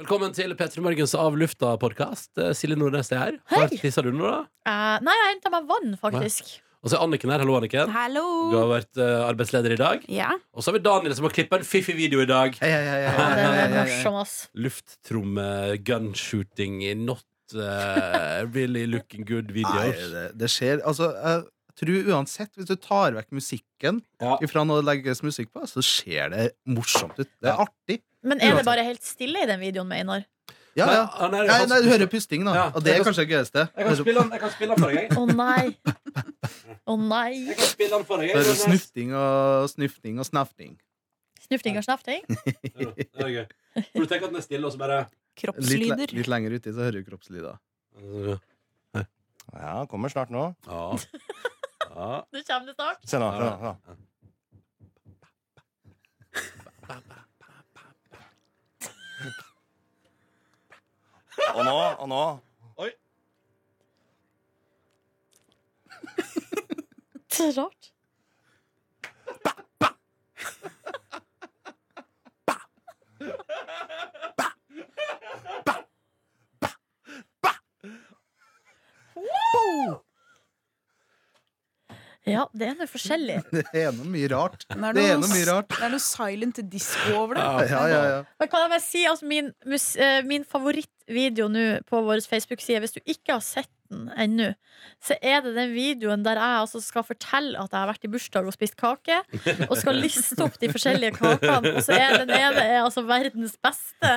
Velkommen til P3 Morgens Av lufta-podkast. Silje Nordnes er her. Hei. Har tissa du nå, da? Eh, nei, jeg henta meg vann, faktisk. Og så er Anniken her. Hallo, Anniken. Du Hallo! har vært eh, arbeidsleder i dag. Ja. Og så har vi Daniel som har klippa en fiffig video i dag. Hei, hei, hei, hei, Ja, hei, den hei, er hei, hei. morsom, ass. Lufttromme, gunshooting, not eh, really looking Nei, good-videoer. det, det skjer. Altså, jeg tror uansett, hvis du tar vekk musikken Ja. ifra noe det legges musikk på, så ser det morsomt ut. Det er Ja. artig. Men er det bare helt stille i den videoen med Einar? Ja, ja. Nei, han er- Nei, han- nei, du hører pusting, da. Ja. Og det er kanskje det gøyeste. Hører, den, jeg kan spille den for deg. jeg. Å nei! Å nei! kan spille den for deg. jeg. hører snufting og snufting og snafting. Snufting og snafting? Ja, det er gøy. For du tenker at den er stille, og så bare Litt, le- Kroppslyder. litt lenger uti, så hører du kroppslyder. Ja, han kommer snart nå. Ja. Ja. Nå kommer det snart. Se nå. se nå, se nå. Og nå, og nå Så rart. Wow! Ja, det er noe forskjellig. Det er noe mye rart. Det er Det er noe- noe mye rart. Det er noe silent disco over det. Ja, ja, ja. Men kan jeg bare si altså, min, mus- eh, min favorittvideo nå på vår Facebook-side, hvis du ikke har sett den ennå, så er det den videoen der jeg altså skal fortelle at jeg har vært i bursdag og spist kake, og skal liste opp de forskjellige kakene, og så er den ene er altså verdens beste,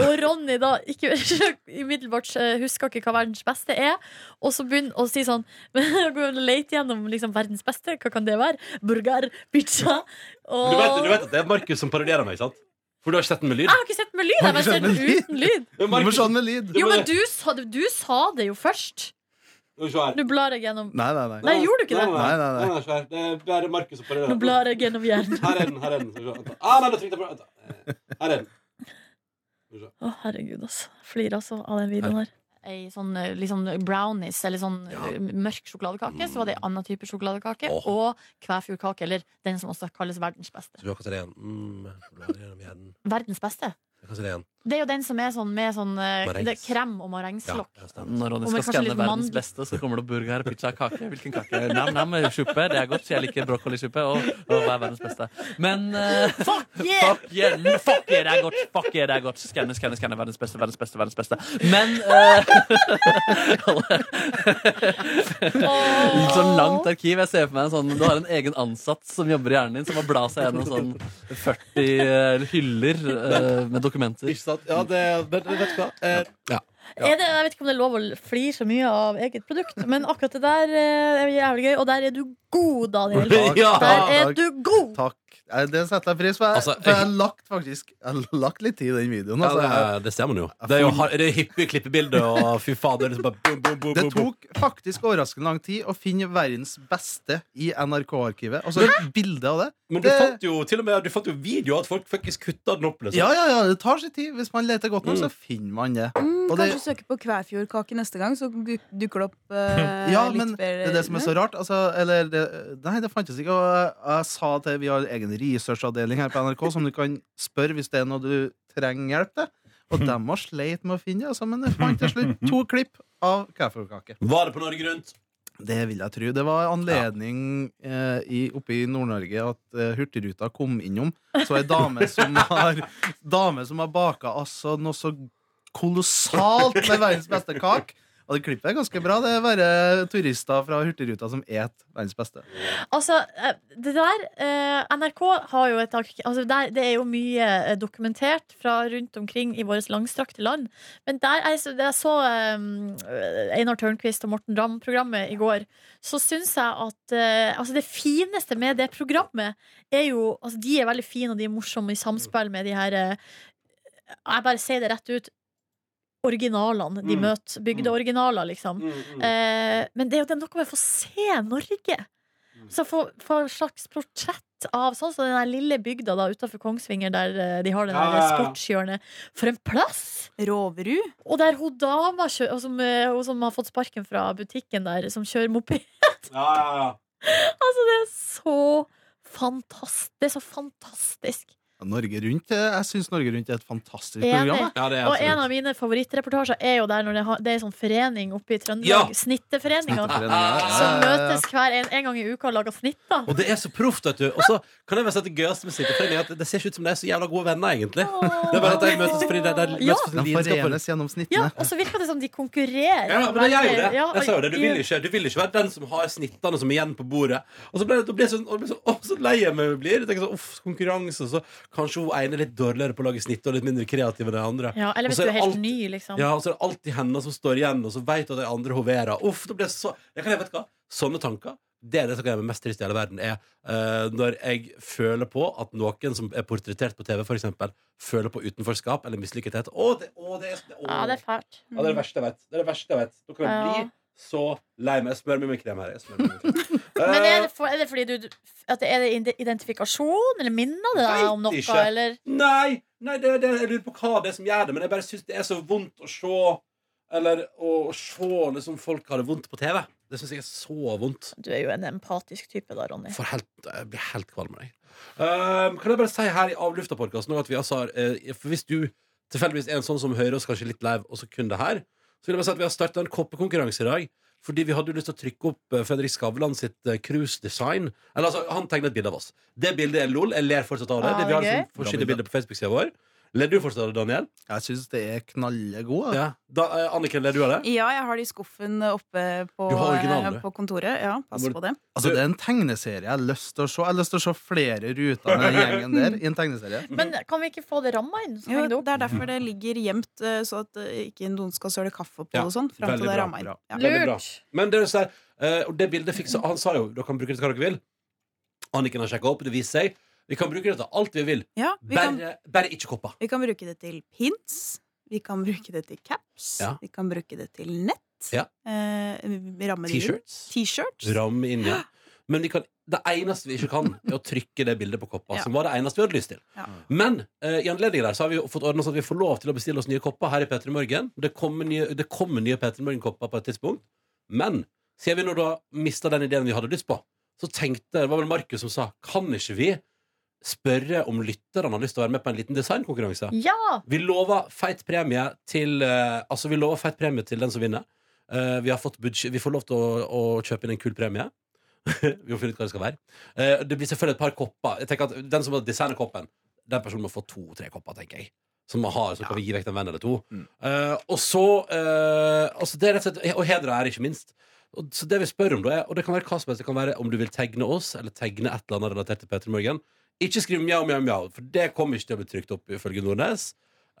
og Ronny da ikke umiddelbart eh, husker ikke hva verdens beste er, og så begynner å si sånn Gå og lete gjennom liksom, verdens beste, hva kan det være? Burger, pizza og Du, vet, du vet at det er Markus som parodierer meg, ikke sant? For du har ikke sett den med lyd? Jeg har ikke sett den med lyd, jeg Har har du bare ikke sett den sett med lyd? uten lyd. Det er Du må Markus- se den med lyd. Jo, men du sa, det- du sa det jo først. Nå se her. Nå blar jeg gjennom Nei, nei, nei. Nei, gjorde du ikke det? Nei, nei, nei. se her. Det er bare Markus som parodierer. Nå blar jeg gjennom hjernen. Her er den. her er den Skal vi se. Vent da. Ah, nei, da trykte jeg på Vent da. Her er den. Å, herregud, altså. Flirer altså av den videoen her. Ei sånn eh, litt sånn brownies eller sånn eh, mørk sjokoladekake. Så var det en annen type sjokoladekake. Åh. Og kvæfjordkake, eller den som også kalles verdens beste. Så vi har kastet det igjen. Mm, blar gjennom hjernen. Verdens beste. Jeg kastet det igjen. Det er jo den som er sånn med sånn eh, Marengs. det er krem og Ja, marengslokk. ja, stemmer. Når Ronny Og med skal kanskje skanne litt verdens mandel. beste, så kommer det burger, pizza, kake. Hvilken kake? Nam, nam, eh, suppe. Det er godt. Jeg liker brokkolisuppe. Og, og hva er verdens beste? Men eh, Fuck yeah! fuck yeah! mm, Fuck yeah, det er godt! Fuck yeah, det er godt. Skanne, skanne, skanne. Verdens beste, verdens beste, verdens beste. Men eh, Litt sånn langt arkiv. Jeg ser for meg en sånn Du har en egen ansatt som jobber i hjernen din, som må bla seg gjennom sånn 40 hyller eh, med dokumenter. Ikke sant? Ja, det, vet, vet du hva? Eh, Er det, jeg vet ikke om det er lov å flire så mye av eget produkt, men akkurat det der eh, er jævlig gøy. Og der er du god, Daniel. Ja. Der er du god! Takk. Eh, Det setter jeg pris på. Jeg- Altså, For jeg har lagt faktisk Jeg har lagt litt tid i den videoen. Ja, Altså, det, jeg, er- det ser man jo. Det er jo har- det er hippie klippebilder og fy fader. Liksom bare boom, boom, boom, det boom, boom. tok faktisk overraskende lang tid å finne verdens beste i NRK-arkivet. Altså et bilde av det. Men du det- fant jo til og med Du fant jo video av at folk faktisk kutta den opp. Liksom. Ja, ja, ja, det tar sin tid. Hvis man leter godt nok, Mm. så finner man det. Mm, Og det- kanskje søke på kvæfjordkake neste gang, så du- dukker det opp eh, Ja, litt eh, men bedre. det er det som er så rart. Altså, eller det, Nei, det fantes ikke. Og jeg, jeg sa til Vi har egen researchavdeling her på NRK som du kan spørre hvis det er noe du trenger hjelp til. Og dem har sleit med å finne det, altså, men jeg fant til slutt to klipp av kaffekake. Var det på Norge Rundt? Det vil jeg tro. Det var anledning eh, i, oppe i Nord-Norge at eh, Hurtigruta kom innom. Så ei dame som har, dame som har baka altså noe så kolossalt med verdens beste kak. Og det klippet er ganske bra. Det er bare turister fra Hurtigruta som et verdens beste. Altså, eh, det der eh, NRK har jo et ark- altså der, Det er jo mye eh, dokumentert fra rundt omkring i vårt langstrakte land. Men der jeg, så- da jeg så eh, Einar Tørnquist og Morten Ramm-programmet i går, så syns jeg at eh, altså det fineste med det programmet er jo altså De er veldig fine, og de er morsomme i samspill med de her eh, Jeg bare sier det rett ut. Originalene de Mm. møter. Bygdeoriginaler, liksom. Eh, men det er jo det er noe med å få se Norge. Så få, få et slags portrett av sånn som den der lille bygda da utafor Kongsvinger, der eh, de har det Ja, der ja, ja. sportshjørnet. For en plass! Roverud? Og der hun dama kjø- og som, eh, hun som har fått sparken fra butikken der, som kjører moped. Ja, ja, ja. Altså, det er så fantastisk. Det er så fantastisk. Norge Rundt eh, Jeg syns Norge Rundt er et fantastisk Enig. program. jeg. Ja, det er Og en absolutt. av mine favorittreportasjer er jo der når det, har- det er en sånn forening oppe i Trøndelag. Ja. Snitteforeninga. For en- ja, ja, Som ja, ja. møtes hver en, en gang i uka og lager snitter. Og det er så proft, vet du. Og så kan jeg bare si at det gøyeste med Sitteforeningen er at det ser ikke ut som de er så jævla gode venner, egentlig. Det er bare at de møtes fordi de, de møtes for sin Ja. De lidenskap for- forenes gjennom Ja, snittene. og så virker det som de konkurrerer. Ja, men jeg gjør jo det. Ja, og Jeg sa jo det. Du vil i- ikke, du vil ikke være den som har snittene som er igjen på bordet. Og så ble det, da ble jeg sånn, og det ble så, å, så lei jeg meg blir. Jeg tenker sånn, uff, konkurranse. Og så kanskje hun ene er litt dårligere på å lage snitt og litt mindre kreativ enn de andre. Ja, eller hvis Og så du er er helt alt- ny, liksom. Ja, og så er det alltid henne som står igjen, og så vet du at de andre hoverer. Uff, da blir jeg så jeg kan, jeg vet hva, Sånne tanker. Det er det som kan gjøre meg mest trist i hele verden, er eh, når jeg føler på at noen som er portrettert på TV, for eksempel, føler på utenforskap eller mislykkethet. Å, det, å, det, er- å. Ja, det er fælt. Ja, det er det verste jeg vet. Det er det verste jeg vet. Da kan jeg Ja. bli så lei meg. Jeg smører meg med krem her. Jeg smører meg med krem. Men er det, for, er det fordi du at det Er det ide- identifikasjon, eller minner det deg Vet om noe? ikke. Eller? Nei! nei det, det, jeg lurer på hva det er som gjør det, men jeg bare syns det er så vondt å se Eller å, å se liksom, folk ha det vondt på TV. Det syns jeg er så vondt. Du er jo en empatisk type da, Ronny. For helt, jeg blir helt kvalm av deg. Um, kan jeg bare si her i Avlufta-podkasten at vi altså har eh, For hvis du tilfeldigvis er en sånn som hører oss kanskje litt live, og så kun det her, så vil jeg bare si at vi har starta en koppekonkurranse i dag. Fordi vi hadde jo lyst til å trykke opp eh, Fredrik Skavlan sitt eh, cruisedesign. Eller altså, han tegnet et bilde av oss. Det bildet er lol. Jeg ler fortsatt av det. Ah, det vi har gøy. sånn forskjellige bilder på Facebook-sida vår. Ler du fortsatt av det, Daniel? Jeg syns det er altså. Ah. knallegod. jeg. Ja. Da, eh, Anniken, ler du av det? Ja, jeg har det i skuffen oppe på, eh, Du har originalen, du. på kontoret. Ja, pass Hvor- på det. Altså, det er en tegneserie jeg har lyst til å se. Jeg har lyst til å se flere ruter med den gjengen der i en tegneserie. Men kan vi ikke få det ramma inn? Så Jo, henger det det opp? er derfor det ligger gjemt, eh, så at eh, ikke noen skal søle kaffe på Ja, det og sånn. Fram veldig til det bra, rammer. bra. Ja. Veldig bra. Lurt. Men det er jo sånn her, eh, og det bildet fikk så, Han sa jo dere kan bruke det til hva dere vil. Anniken har sjekka opp, det viser seg. Vi kan bruke det til alt vi vil. Ja, vi kan, Bare, bare ikke kopper. vi kan bruke det til pins. Vi kan bruke det til caps. Ja. Vi kan bruke det til nett. Ja. Eh, ramme det rundt. T-shirts. T-shirts. Ramme inn, ja. Men vi kan, det eneste vi ikke kan, er å trykke det bildet på kopper. Ja. Som var det eneste vi hadde lyst til. Ja. Men eh, i anledning der så har vi jo fått ordnet sånn at vi får lov til å bestille oss nye kopper her i P3 Morgen. Det kommer nye, det kommer nye P3 Morgen-kopper på et tidspunkt. Men siden vi nå da mista den ideen vi hadde lyst på, så tenkte Det var vel Markus som sa Kan ikke vi spørre om lytterne har lyst til å være med på en liten designkonkurranse? Mm. Ja! Vi lover feit premie til eh, Altså, vi lover feit premie til den som vinner. Eh, vi, har fått budsj- vi får lov til å, å kjøpe inn en kul premie. vi må finne ut hva det skal være. Eh, det blir selvfølgelig et par kopper. Jeg tenker at Den som har designet koppen, den personen må få to-tre kopper, tenker jeg. Som man har, så kan vi gi vekk til en venn eller to. Eh, og så eh, altså det er rett og, slett, og heder og ære, ikke minst. Og, så det vi spør om, da er Og det kan være hva som helst. Det kan være om du vil tegne oss, eller tegne et eller annet relatert til Peter Morgen. Ikke skriv mjau, mjau, mjau, for det kommer ikke til å bli trykt opp, ifølge Nordnes.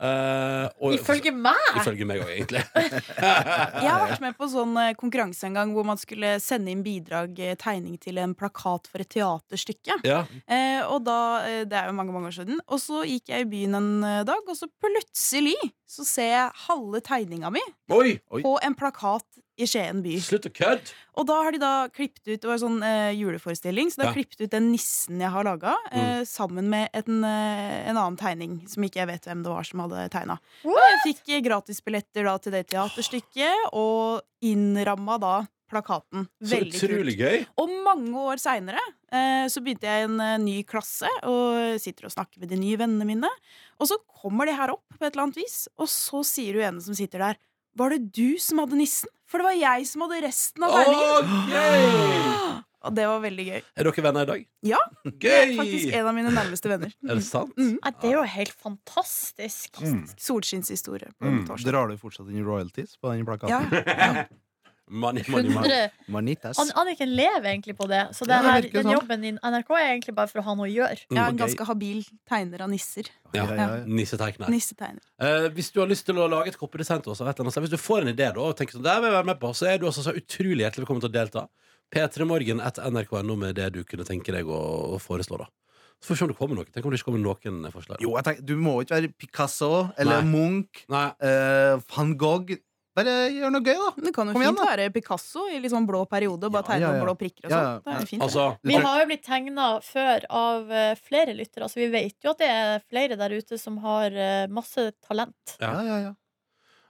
Eh, og, Ifølge meg! Ifølge meg òg, egentlig. Jeg har vært med på sånn eh, konkurranse en gang hvor man skulle sende inn bidrag, eh, tegning til en plakat for et teaterstykke. Ja. Eh, og da, eh, Det er jo mange mange år siden. Og så gikk jeg i byen en eh, dag, og så plutselig så ser jeg halve tegninga mi Oi! Oi. på en plakat i Skien by. Slutt å kødde! Og da har de da klippet ut Det var en sånn eh, juleforestilling, så de Ja. har Mm. klippet ut den nissen jeg har laga, eh, sammen med en, eh, en annen tegning som ikke jeg vet hvem det var som hadde tegna. What? Jeg fikk eh, gratisbilletter da til det teaterstykket, og innramma da plakaten. Så Veldig kult. utrolig gøy. Og mange år seinere eh, så begynte jeg i en eh, ny klasse og sitter og snakker med de nye vennene mine. Og så kommer de her opp på et eller annet vis, og så sier hun ene som sitter der, var det du som hadde nissen? For det var jeg som hadde resten av tegningen. gøy! Og det var veldig gøy. Er dere venner i dag? Ja. Det er Gøy! faktisk en Mm. av mine nærmeste venner. Er det sant? Nei, det er jo helt fantastisk. Mm, Solskinnshistorie. på Mm. torsdag. Drar du fortsatt inn royalties på den plakaten? Ja. Money, money, money. 100 Manitas. An Anniken lever egentlig på det. Så det Ja, det her, virker den sånn. jobben i NRK er egentlig bare for å ha noe å gjøre. Jeg er en Mm, ok. ganske habil tegner av nisser. Ja. Ja, ja, ja. Nissetegner. Nissetegner. Eh, hvis du har lyst til å lage et koppedesign til oss, eller et eller annet, så hvis du får en idé da, og tenker sånn, det her vil jeg være med på, så er du altså så utrolig hjertelig velkommen til å delta. P3morgen etter nrk.no med det du kunne tenke deg å, å foreslå, da. Så får vi se om det kommer noe. Tenk om det ikke kommer noen forslag. Jo, jeg tenker, du må ikke være Picasso eller Nei. Munch, Nei, eh, van Gogh. Bare gjør noe gøy, da. Det kan jo Kom igjen, fint være Picasso i litt sånn blå periode og Ja, bare tegne ja, noen ja. blå prikker og Ja, sånn. ja. Det er jo fint. det. altså Du Vi trenger- har jo blitt tegna før av eh, flere lyttere, så vi vet jo at det er flere der ute som har eh, masse talent. Ja. Ja, ja, ja.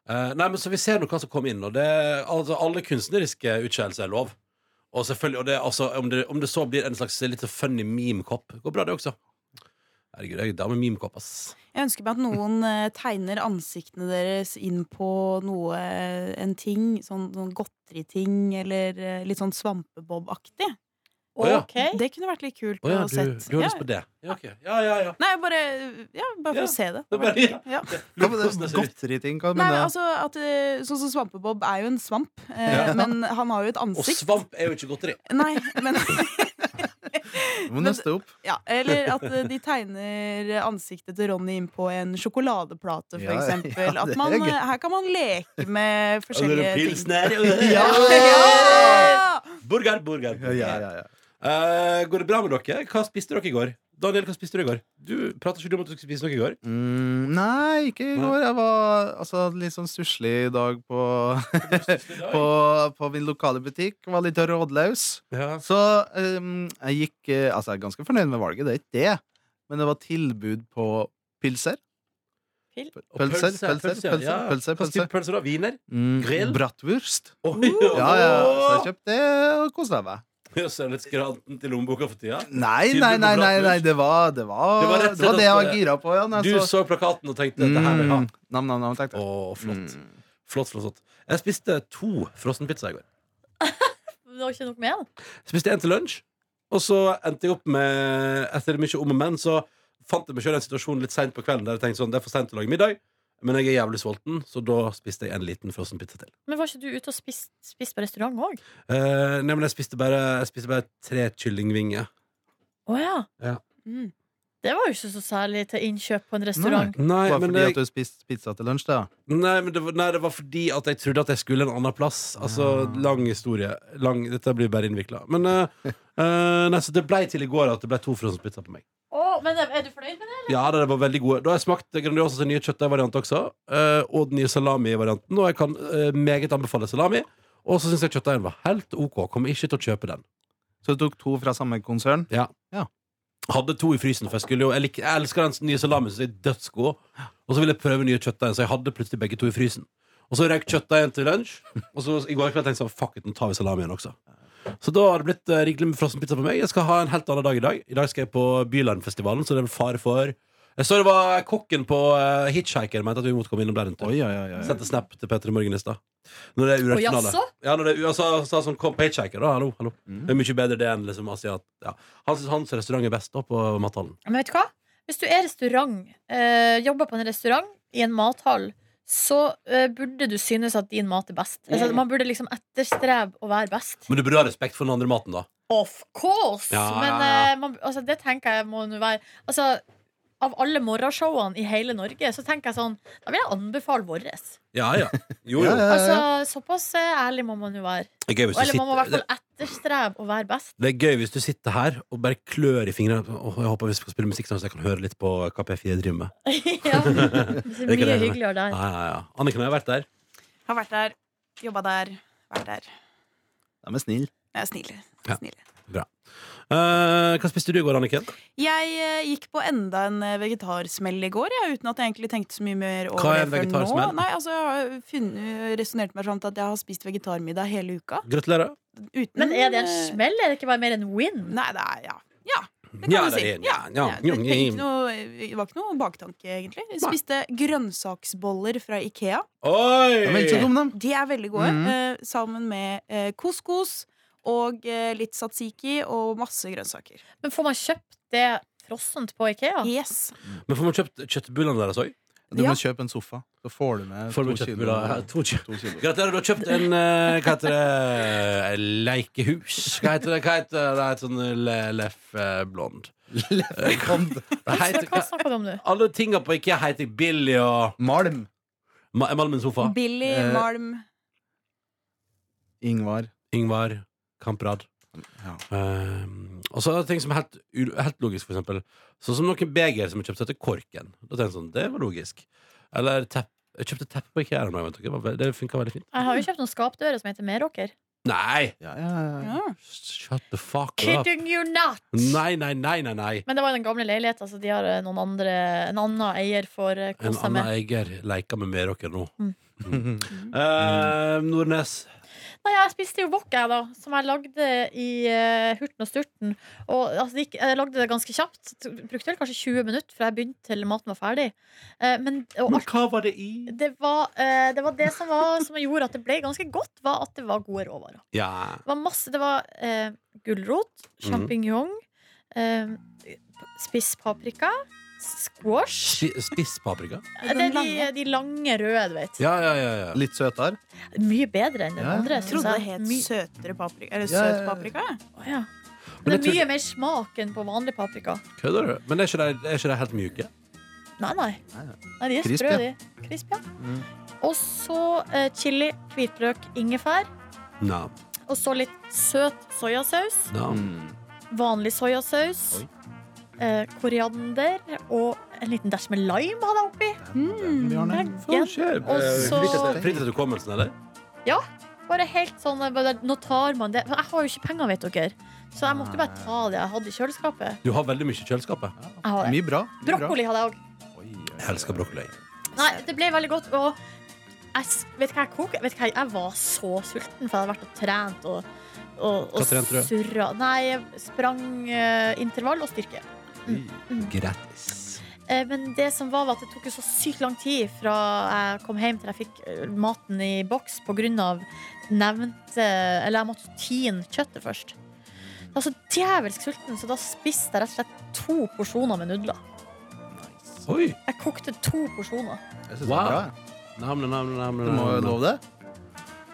Eh, nei, men så Vi ser nå hva som kommer inn. Og det, altså, alle kunstneriske utskeielser er lov. Og selvfølgelig, og det, altså, om, det, om det så blir en slags litt sånn funny meme-kopp, går bra, det også. Herregud, jeg er dame meme-kopp, ass. Jeg ønsker meg at noen eh, tegner ansiktene deres inn på noe, en ting, sånn, sånn godteriting eller eh, litt sånn svampebob-aktig. Å, ja. OK. Det kunne vært litt kult Å ja, å du, sett. du har Ja. lyst på det? Ja, ok. ja, ja. ja. Nei, bare, ja, bare for Ja. å se det. Det er bare- Det var litt- ja. Hva med det godteriting? Hva Nei, mener men du? altså at, eh, Sånn som Svampebob er jo en svamp, eh, Ja. men han har jo et Og ansikt. svamp er jo ikke godteri. Nei, men Du må nøste opp. ja, Eller at eh, de tegner ansiktet til Ronny inn på en sjokoladeplate, for Ja, ja, eksempel. det at er man, gøy. eh, her kan man leke med forskjellige ting. Ja. Ja! Burger, burger. Ja, burger. ja, ja, ja. Eh, går det bra med dere? Hva spiste dere i går? Daniel, hva spiste du i går? Du prater ikke du om at du skulle spise noe i går? Mm, nei, ikke i Nei. går. Jeg var altså, litt sånn stusslig dag på, på, på min lokale butikk. Var litt rådløs. Ja. Så um, jeg gikk eh, Altså, jeg er ganske fornøyd med valget, det er ikke det. Men det var tilbud på pilser. Pil- Pølser, pølser, pølser, pølser, ja. pølser, Hva slags type pølser da? Wiener? Mm, Grill? Bratwurst. Oi, Ja, ja. Så jeg kjøpte det og kosa meg. Så er det litt skranten til lommeboka for tida. Nei, Tilbud på nei, nei, nei, bratwurst? nei det, var, det, var, Det var det, var rett og det slett jeg var at, eh, gira på. Ja, når Du jeg så plakaten og tenkte dette her vil jeg ha. altså. mm, Nam, nam, nam, tenkte Å, jeg. flott. Mm. Flott, flott, flott. Jeg spiste to frossenpizza i går. Det var ikke nok med den. Jeg spiste en til lunsj, og så endte jeg opp med Etter mye om og men, så fant jeg meg sjøl i en situasjon litt seint på kvelden der jeg tenkte sånn, det er for seint å lage middag, men jeg er jævlig sulten, så da spiste jeg en liten frossenpizza til. Men var ikke du ute og spiste spist på restaurant òg? Eh, nei, men jeg spiste bare, jeg spiste bare tre kyllingvinger. Å ja. Ja. Mm. Det var jo ikke så særlig til innkjøp på en restaurant. Nei, Bare men fordi det, at du spiste pizza til lunsj, da? nei, men det, var- nei, det var fordi at jeg trodde at jeg skulle en annen plass. Altså, Ah. lang historie. Lang, dette blir bare innvikla. Men eh, eh, nei, så det ble til i går at det ble to frossenpizza på meg. Å, men er du fornøyd med det? Ja, det var veldig gode. Da har jeg smakt Grandiosas nye kjøttdeigvariant også, eh, og den nye salami-varianten. Og jeg kan eh, meget anbefale salami. Og så syns jeg kjøttdeigen var helt OK. Kommer ikke til å kjøpe den. Så du tok to fra samme konsern? Hadde to i frysen, for jeg skulle jo Jeg, lik, jeg elsker den nye salamien, så jeg er dødsgod. Og så ville jeg prøve nye kjøttdeigen, så jeg hadde plutselig begge to i frysen. Og så røyk kjøttdeigen til lunsj, og så i går kveld tenkte jeg sånn Fuck it, nå tar vi salamien også. Så da har det blitt eh, rikelig med frossenpizza på meg. Jeg skal ha en helt annen dag i dag. I dag skal jeg på Bylarmfestivalen, så det er vel fare for Jeg så det var kokken på uh, Hitchhiker mente at vi måtte komme innom der en tur. Oi, oi, oi, oi. Sendte snap til Petter i morgen i stad. Når det er Å, urettfinale. jaså? Ja, når det er USA, sa sånn Kom, paychecker, da. Hallo, hallo. Mm. Det er mye bedre det enn liksom asiat... Ja. Han synes hans restaurant er best da på mathallen. Men vet du hva? Hvis du er restaurant, eh, jobber på en restaurant i en mathall, så eh, burde du synes at din mat er best. Mm. Altså, man burde liksom etterstrebe å være best. Men du burde ha respekt for den andre maten, da. Of course! Ja, ja, Men ja. eh, man, altså, det tenker jeg må nå være Altså, av alle morgenshowene i hele Norge, så tenker jeg sånn Da vil jeg anbefale våres. Ja, ja. Jo, jo. Ja, ja, Altså, ja. såpass eh, ærlig må man jo være. Det er gøy hvis du Eller man må i hvert sitter, fall etterstrebe å være best. det er gøy hvis du sitter her og bare klør i fingrene. Åh, jeg håper vi skal spille musikk sånn så jeg kan høre litt på hva P4 driver med. ja. Det er ikke mye det. hyggeligere der. Ja, ja, ja. Anniken har vært der. Har vært der, jobba der, vært der. De er snille. Jeg er snill. Ja. snill. Eh, hva spiste du i går, Anniken? Jeg eh, gikk på enda en eh, vegetarsmell i går, jeg, uten at jeg egentlig tenkte så mye mer over Hva er en det før nå. vegetarsmell? Nei, altså, jeg har funnet- resonnert meg fram til at jeg har spist vegetarmiddag hele uka. Gratulerer. Uten, Men er det en Mm. eh, smell? Er det ikke bare mer en win? Nei, det er ja. Ja, det kan Ja, du det si. er- ja, ja, ja, det, ja, det, er ikke ja. noe, det var ikke noe baktanke, egentlig. Jeg spiste grønnsaksboller fra Ikea. Oi! De er ikke så dumme, de. De er veldig gode, Mm. Mhm. eh, sammen med eh, couscous og eh, litt satsiki og masse grønnsaker. Men får man kjøpt det frossent på Ikea? Yes. Men får man kjøpt kjøttbullene deres òg? Du Ja. må kjøpe en sofa. Så får du med Får du to kilo. kjøttbuller? Ja, to kilo. To kilo. Gratulerer, du har kjøpt en eh, Hva heter det? eh, Leikehus? Hva heter det? Hva heter det? Et sånn le, leff eh, blond. Eh, Det Hva, heter, hva hva- snakker du om nå? alle tinga på IKEA heter Billy og Malm. Ma- eh, Malmen Sofa. Billy, Eh, Malm Ingvar. Ingvar Kamprad. Ja. Ehm, og så er det ting som er helt, u- helt logisk, for eksempel. Sånn som noen beger som er kjøpt etter Korken. Da tenker jeg sånn, Det var logisk. Eller tepp. Jeg kjøpte teppe på IKEA. her om dagen, vet dere. Det var ve- Det funka veldig fint. Jeg har jo kjøpt noen skapdører som heter Meråker. Nei! Ja, ja, ja. ja. Shut the fuck up. Kidding you not! Nei, nei, nei, nei. nei. Men det var jo den gamle leiligheten, så de har eh, noen andre, en annen eier for eh, En kose seg annen med. Mm. eier leker med mer dere nå. Mm. Eh, Nordnes. Nei, jeg spiste jo wok, jeg, da. Som jeg lagde i eh, Hurten og Sturten. Og altså, det gikk, jeg lagde det ganske kjapt. T- Brukte vel kanskje 20 minutter fra jeg begynte til maten var ferdig. Eh, men, og alt, hva var det i? det, var, eh, det var det som, var, som gjorde at det ble ganske godt, var at det var gode råvarer. Ja. Det var masse Det var eh, gulrot, Mhm. sjampinjong, eh, spiss paprika, squash Ski- Spisspaprika? Eh, Det er de, de lange røde, du vet. Ja, ja, ja. ja. Litt søtere. Mye bedre enn den Ja. andre. Jeg synes trodde det jeg. het My- søtere paprika. Eller Ja, ja, søt ja. paprika. jeg. Å, ja. Men Men jeg det er mye mer smak enn på vanlig paprika. Kødder du? Men er ikke de- er ikke de helt mjuke? Nei, nei. Nei, nei. nei de er Crisp, Mm. sprø, de. Crisp, ja. Og så eh, chili, hvitløk, ingefær. Nam, Og så litt søt soyasaus. nam. Mm. Vanlig soyasaus. Oi. Eh, koriander og en liten dash med lime hadde jeg oppi. Mm. Bjarne. Leggen. Faen, skjer. Og så Eh, Fritt etter hukommelsen, eller? Bare helt sånn bare, Nå tar man det. For jeg har jo ikke penger, vet dere. Så jeg måtte jo bare ta det jeg hadde i kjøleskapet. Du har veldig mye i kjøleskapet. Jeg har det. Mye bra. Mye bra. Brokkoli hadde jeg òg. Oi, oi, oi. Jeg elsker brokkoli. Nei, det ble veldig godt. Og jeg, s- vet du hva jeg koker? Vet du hva, jeg var så sulten, for jeg hadde vært og trent og, og, Hva trente du? og surra. Nei, jeg sprang eh, intervall og styrke. Grattis. Eh, men det som var, var at det tok jo så sykt lang tid fra jeg kom hjem til jeg fikk eh, maten i boks på grunn av nevnte Eller jeg måtte tine kjøttet først. Jeg var så djevelsk sulten, så da spiste jeg rett og slett to porsjoner med nudler. Oi! Jeg kokte to porsjoner. Jeg synes det Wow. Mm. er bra. jeg. Nam, nam, nam, nam, Du nam, må jo nam. love det.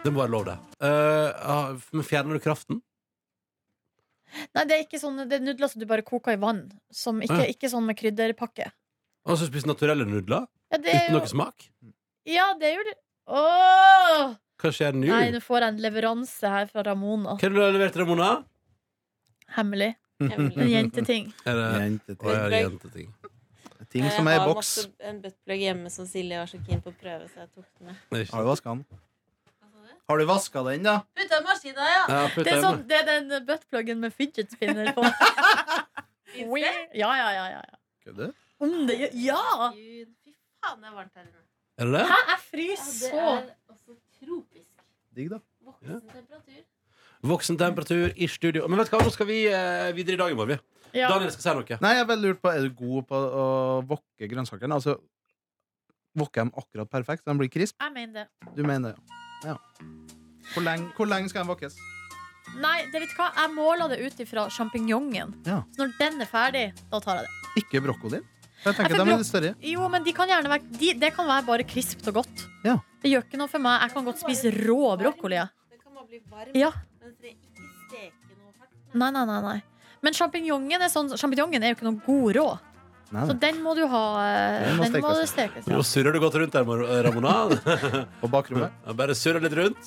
Det må være lov, det. Eh, ah, men fjerner du kraften? Nei, det er ikke sånn, det er nudler som du bare koker i vann. Som ikke, Ja. ikke sånn med krydderpakke. Og så spiser naturelle nudler Ja, det er uten jo, noe smak? ja, det, er jo det. Åh! Hva skjer nå? Nei, Hva nå får jeg en leveranse her fra Ramona. er det du har levert, Ramona? Hemmelig. En Mhm, Hemmelig. jenteting. Er det Å, Jenteting. ja, det er jenteting. Ting som er i Jeg har boks. masse- en buttplug hjemme som Silje var så keen på å prøve, så jeg tok den med. Det er ikke- Har du vaska den? Har du vaska den, da? Putta i maskina, ja! Ja, putt Det er, det sånn, med. det er den buttpluggen med fidget spinner på. Wee. Ja, ja, ja. ja. ja. Kødder du? Om det Ja! Gud, fy faen, det er varmt her inne. Er det det? Hæ, jeg fryser så. også tropisk. Digg, da. Voksen temperatur. Voksen temperatur i studio. Men vet du hva, nå skal vi eh, videre i dag i morgen. vi. Ja. Daniel skal si noe. Nei, jeg er veldig lurt på Er du god på å vokke grønnsakene? Altså, vokker jeg dem akkurat perfekt, så de blir krisp? Jeg mener det. Du mener det, ja. ja. Hvor lenge, hvor lenge skal de vokkes? Nei, det vet du hva? jeg måla det ut ifra sjampinjongen. Ja. Så når den er ferdig, da tar jeg det. Ikke brokkolien? For Ja, jeg Altså, tenker for de er litt større. Jo, men de kan gjerne være de, Det kan være bare krispt og godt. Ja. Det gjør ikke noe for meg. Jeg kan godt spise rå brokkoli. jeg. Den kan bare bli varm, Ja. men den trenger ikke steke noe hardt. Nei, nei, nei. nei. Men sjampinjongen er, sånn, champinjongen er jo ikke noe god rå, Nei, så nei. den må du ha eh, Den må Den må det stekes. stekes. Nå Ja. surrer du godt rundt der, Mar- Ramona. På bakrommet. Bare surrer litt rundt.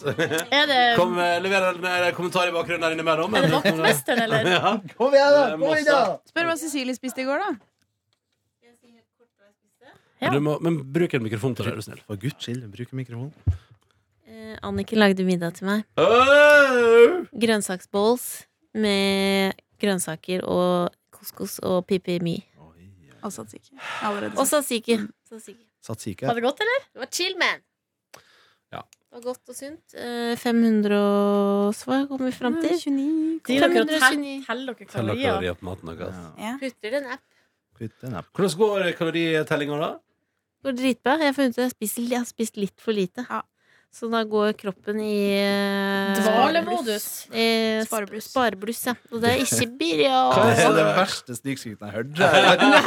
Er det, Kom, eh, Lever en eh, kommentar i bakgrunnen der innimellom. er det vaktmesteren, eller? Ja. Kom igjen, da! Kom igjen, da! Spør hva Cecilie spiste i går, da. Jeg sier helt kort hva jeg spiste. Ja. Du må, men bruk en mikrofon til det, er du snill. For guds skyld, bruk mikrofon. Eh, Anniken lagde middag til meg. Grønnsaksbowls med grønnsaker og couscous og pipimi. Og satsiki. Jeg har Allerede Og sagt. tzatziki. Tzatziki. Satsiki. Var det godt, eller? Det var chill, man. Ja. Det var godt og sunt. Eh, 500 og så hva kom vi fram til. 29 Driver dere og tell- 529. teller dere Tell dere kalorier? kalorier på maten deres. Ja. Putter den app. Putt en app. Hvordan går kaloritellinga, da? Går dritbra. Jeg har funnet ut at jeg spiser li- jeg har spist litt for lite. Ja. Så da går kroppen i eh, Dvalemodus. eh, sp- Sparebluss. Sparebluss, ja. Og det er ikke Hva bra. er Ah, det verste snikskryten jeg har hørt? Jeg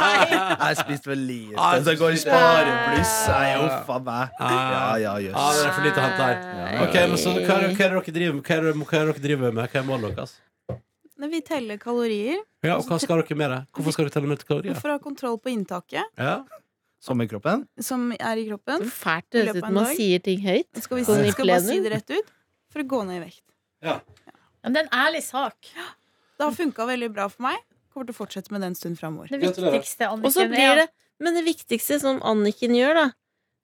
har spist for lite, Ah, så går i sparebluss. Nei, uff a meg. Ja, ja, jøss. Ja, Ah. det er for lite å hente her. Eh, Ok, men så, hva, er, hva, er det dere driver, hva, er det, hva er det dere driver med? Hva er målet deres? Når vi teller kalorier Ja, og hva skal dere med det? Hvorfor skal dere telle med kalorier? for å ha kontroll på inntaket Ja. Sommerkroppen? som er i kroppen, Så Sånn fælt I løpet det høres ut av en når man dag. sier ting høyt. skal vi Sånn i skal bare si plenum? det rett ut, for å gå ned i vekt. Ja, men det er en ærlig sak. Det har funka veldig bra for meg. Kommer til å fortsette med det en stund framover. Det viktigste, Og så Anniken, blir er det Men det viktigste som Anniken gjør, da,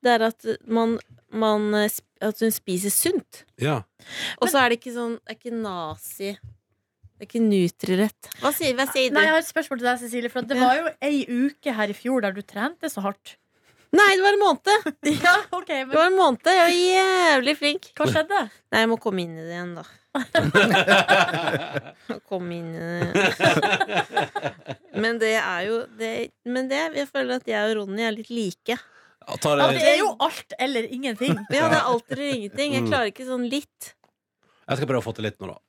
det er at man, man eh, sp- At hun spiser sunt. ja. Og så er det ikke sånn Det er ikke nazi. Det er ikke nutrirett. Hva sier, hva sier Nei, jeg du? har et spørsmål til deg, Cecilie. For at det var jo ei uke her i fjor der du trente så hardt. Nei, det var en måned! Ja, ok, Det men var en måned, Jeg var jævlig flink. hva skjedde? Nei, jeg må komme inn i det igjen, da. Å komme inn i det. Men det er jo det, Men det, jeg føler at jeg og Ronny er litt like. Ja, tar Ja, jeg, det er jo alt eller ingenting. Ja, det er alt eller ingenting. Jeg klarer ikke sånn litt. jeg skal prøve å få til litt nå, da.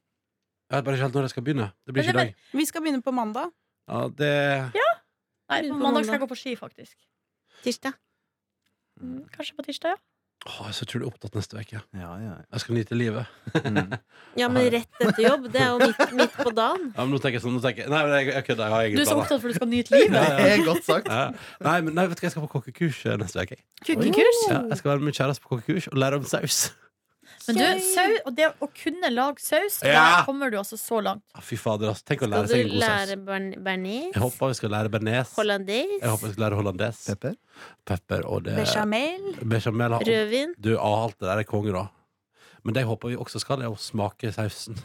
Jeg vet bare ikke helt når jeg skal begynne. Det blir Men ikke i det- dag. Vi skal begynne på mandag. Ja, det Nei, på mandag skal jeg gå på ski, faktisk. Tirsdag. Mm, Kanskje på tirsdag, ja. Åh, jeg er så utrolig opptatt neste uke. Ja, ja. Jeg skal nyte livet. Mm. Ja, men rett etter jobb. Det er jo midt, midt på dagen. Ja, men nå tenker jeg sånn nå tenker jeg, Nei, men jeg, jeg kødder. Jeg har Du egen er sånn- plan. så da. opptatt for du skal nyte livet. Ja, ja. Det er godt sagt. Ja. Nei, men nei, vet du hva, jeg skal på kokkekurs eh, neste uke. jeg. Kukkekurs. Ja, jeg skal være med min kjæreste på kokkekurs og lære om saus. Men du, sau, og det å kunne lage saus, Ja. der kommer du altså så langt. Ja, fy fader, altså. Tenk å Skal lære seg en du god lære saus. bern- Jeg bearnés? håper vi skal lære bearnés. Jeg håper Hollandaise? vi skal lære hollandes. Pepper. Pepper og det Bechamel. Bechamel har Rødvin? Du, ah, alt det der er konge, da. Men det jeg håper vi også skal, er å smake sausen.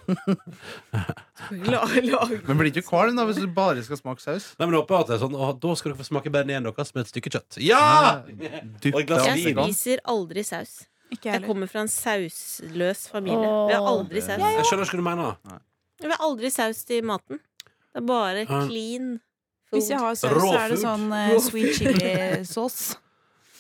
Men blir ikke du kvalm da hvis du bare skal smake saus? Nei, men jeg håper at det er sånn, «Åh, Da skal dere få smake bearnésen deres med et stykke kjøtt. Ja! Ah! Og et Dypp glass det Jeg vin. i spiser aldri saus. Ikke jeg Jeg heller. kommer fra en sausløs familie. Åh. Vi har aldri saus. Jeg skjønner ikke hva du mener. Vi har aldri saus til maten. Det er bare Ja. clean Hvis food. jeg har saus, Raw så er det food. sånn eh, Raw sweet chili-sauce.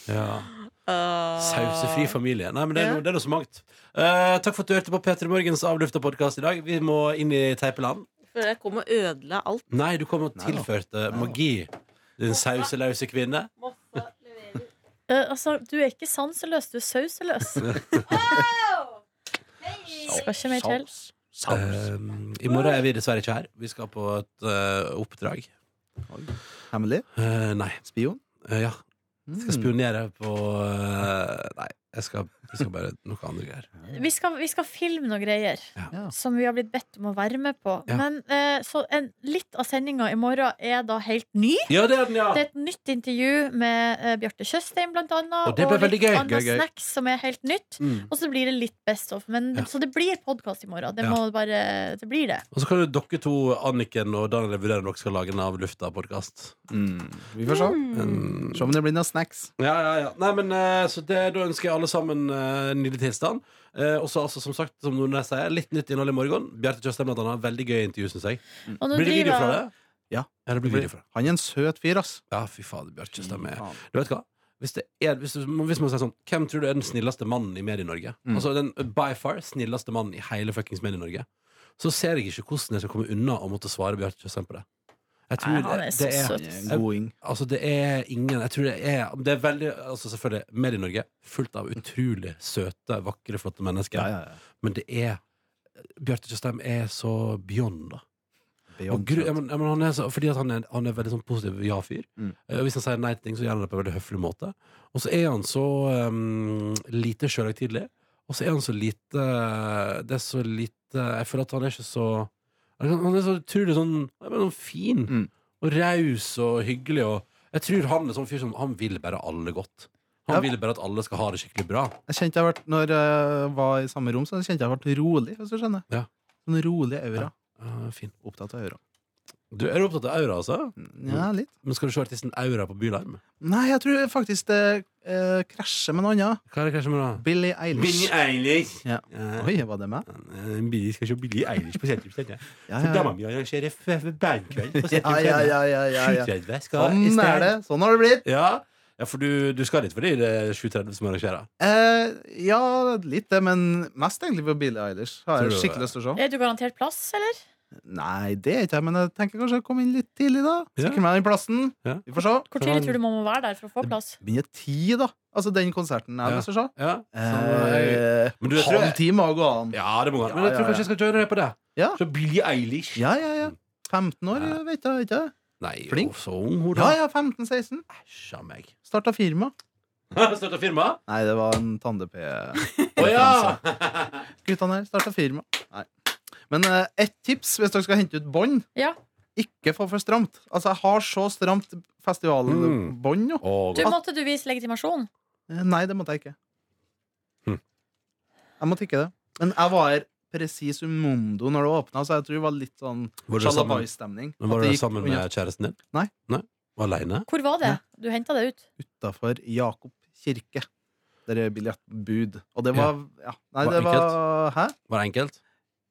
Ja. Ah. Sausefri familie. Nei, men det er, Ja. noe- det er noe så mangt. Eh, takk for at du hørte på P3 Morgens avlufta podkast i dag. Vi må inn i teipeland. Før jeg kom og ødela alt. Nei, du kom og Nei da. tilførte magi. Din sauselause kvinne. Eh, altså, du er ikke sanseløs, du er sauseløs. Skal ikke mer til. Eh, I morgen er vi dessverre ikke her. Vi skal på et eh, oppdrag. Hemmelig? Eh, nei. Spion? Eh, ja. Mm. Skal spionere på eh, Nei, jeg skal, jeg skal bare noe andre greier. Vi skal, vi skal filme noen greier Ja. som vi har blitt bedt om å være med på. Ja. Men eh, så en, litt av sendinga i morgen er da helt ny. Ja, det er den, ja! Det er et nytt intervju med eh, Bjarte Tjøstheim, blant annet. Og det ble veldig litt gøy. annet Gøy, gøy. snacks som er helt nytt. Mm. Og så blir det litt Best of. Men, Ja. Så det blir podkast i morgen. Det, Ja. må bare, det blir det. Og så kan jo dere to, Anniken og Daniel, vurdere om dere skal lage en av lufta-podkast. Mm. Vi får se. Mm. Se om det blir noen snacks. Ja, ja, ja. Nei, men, eh, så det, da ønsker jeg alle sammen eh, en nydelig tilstand. Eh, og så altså, som sagt, som Nordnes sier, litt nytt innhold i morgen. Bjarte Tjøstheim blant annet. Veldig gøy intervju, syns jeg. Og nå Blir det video driver fra det? jeg- Ja. ja det blir video fra det. Han er en søt fyr, ass. Ja, fy fader, Bjarte Tjøstheim er Faen. Du vet hva? Hvis, det er, hvis, du- hvis man sier sånn Hvem tror du er den snilleste mannen i Medie-Norge? Mm. Altså den by far snilleste mannen i hele fuckings Medie-Norge. Så ser jeg ikke hvordan jeg skal komme unna å måtte svare Bjarte Tjøstheim på det. Jeg tror Nei, han er det, så det er søt. Han er en goding. Altså, det er ingen Jeg tror det er Det er veldig Altså, selvfølgelig, Medie-Norge fullt av utrolig søte, vakre, flotte mennesker. Ja, ja, ja. Men det er Bjarte Tjøstheim er så beyond, da. Og Beyond gru, søt. jeg, men, jeg, men han er så, fordi at han er, han er veldig sånn positiv ja-fyr. Mm. Eh, Hvis han sier nei til ting, så gjør han det på en veldig høflig måte. Og så er han så um, lite sjølhøytidelig. Og så er han så lite Det er så lite Jeg føler at han er ikke så Han er så utrolig sånn, han er bare sånn fin Mm. og raus og hyggelig. Og jeg tror han er sånn fyr som Han vil bare alle godt. Han Ja. vil bare at alle skal ha det skikkelig bra. Jeg kjente jeg ble, når jeg var i samme rom, så kjente jeg ble rolig, hvis du skjønner. Ja. Sånn rolig aura. Ah, fin. Opptatt av aura. Mm, Du er opptatt av aura, altså? Ja, litt. Men skal du se artisten Aura på Bylarm? Nei, jeg tror faktisk det eh, krasjer med noe annet. Hva er det kanskje med det? Billie Eilish. Eilish. Ja. Oi, var det meg? Vi skal se Billie Eilish på Sentrum Scene. Ja, ja, ja. mi arrangerer bandkveld på Ja, ja, ja, ja, ja, ja. 7.30 Sånn er det. Sånn har det blitt. Ja. ja, for du, du skal dit fordi det er 7.30 som arrangerer. Eh, ja, litt det, men mest egentlig på Billie Eilish. Har Tror jeg du skikkelig lyst til å se. Er du garantert plass, eller? Nei, det er ikke jeg, men jeg tenker kanskje jeg kom inn litt tidlig, da. Ja. Sikre meg den plassen. Ja. Vi får se. Hvor tidlig tror du man må være der for å få plass? Begynner ti, da. Altså den konserten Ja. jeg har lyst til å se. Ja, så, Eh, Men du, jeg tror- halv time må gå an. ja det må gå an. Men Ja, jeg tror ja, ja. kanskje jeg skal joine deg på det. Ja. Så Billie Eilish. Ja, ja, ja. 15 år, Ja. vet jeg ikke. Nei, jo, Flink. så ung hun, Ja, da. ja, 15-16. Æsj a meg. Starta firma. Støtta firma? Nei, det var en tande-P. Å ja! Guttene her starta firma. Nei. Men eh, ett tips hvis dere skal hente ut bånd. Ja. Ikke få for stramt. Altså, jeg har så stramt festivalbånd nå. Og, Du, måtte du vise legitimasjon? Eh, Nei, det måtte jeg ikke. Hm. Jeg måtte ikke det. Men jeg var her presis umundo når det åpna, så jeg tror det var litt sånn var du sammen, sjalabai-stemning. men At var det du gikk sammen unna. med kjæresten din? Nei. Nei? Var aleine? Hvor var det? Du henta det ut? utafor Jakob kirke. Der er billettbud. Og det var ja. Nei, Var det var Hæ? Var det enkelt?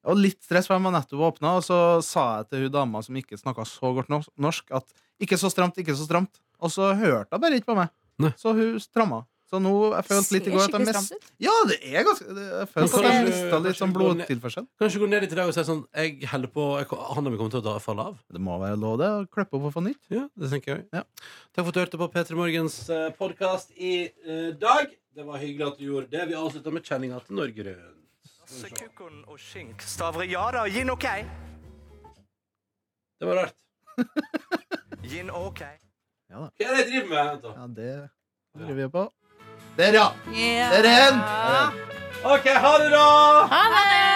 Og litt stress, for jeg var nettopp åpna, og så sa jeg til hun dama som ikke snakka så godt nos- norsk, at ikke så stramt, ikke så stramt. Og så hørte hun bare ikke på meg. Nei. Så hun stramma. Så nå jeg følte litt i går at jeg mist... Ja, det er ganske det, Jeg følte at jeg Kanskje- mista litt sånn kanskje vi blodtilførsel. Kanskje gå ned dit i dag og si sånn Jeg holder på jeg, Han kommer til å da- falle av. Det må være lov, det. Å klippe opp og få nytt. Ja, det tenker jeg også. Ja. Takk for at du hørte på P3 Morgens podkast i eh, dag. Det var hyggelig at du gjorde det. Vi avslutta med kjenninga til Norge Rundt. Kukkon og skink stavrer ja da, gin ok. Det var rart. Gin ok. Hva er det jeg driver med? Vent da. Ja, det lurer vi på. Der, ja! Yeah. Der er den! OK, ha det, da! Ha det!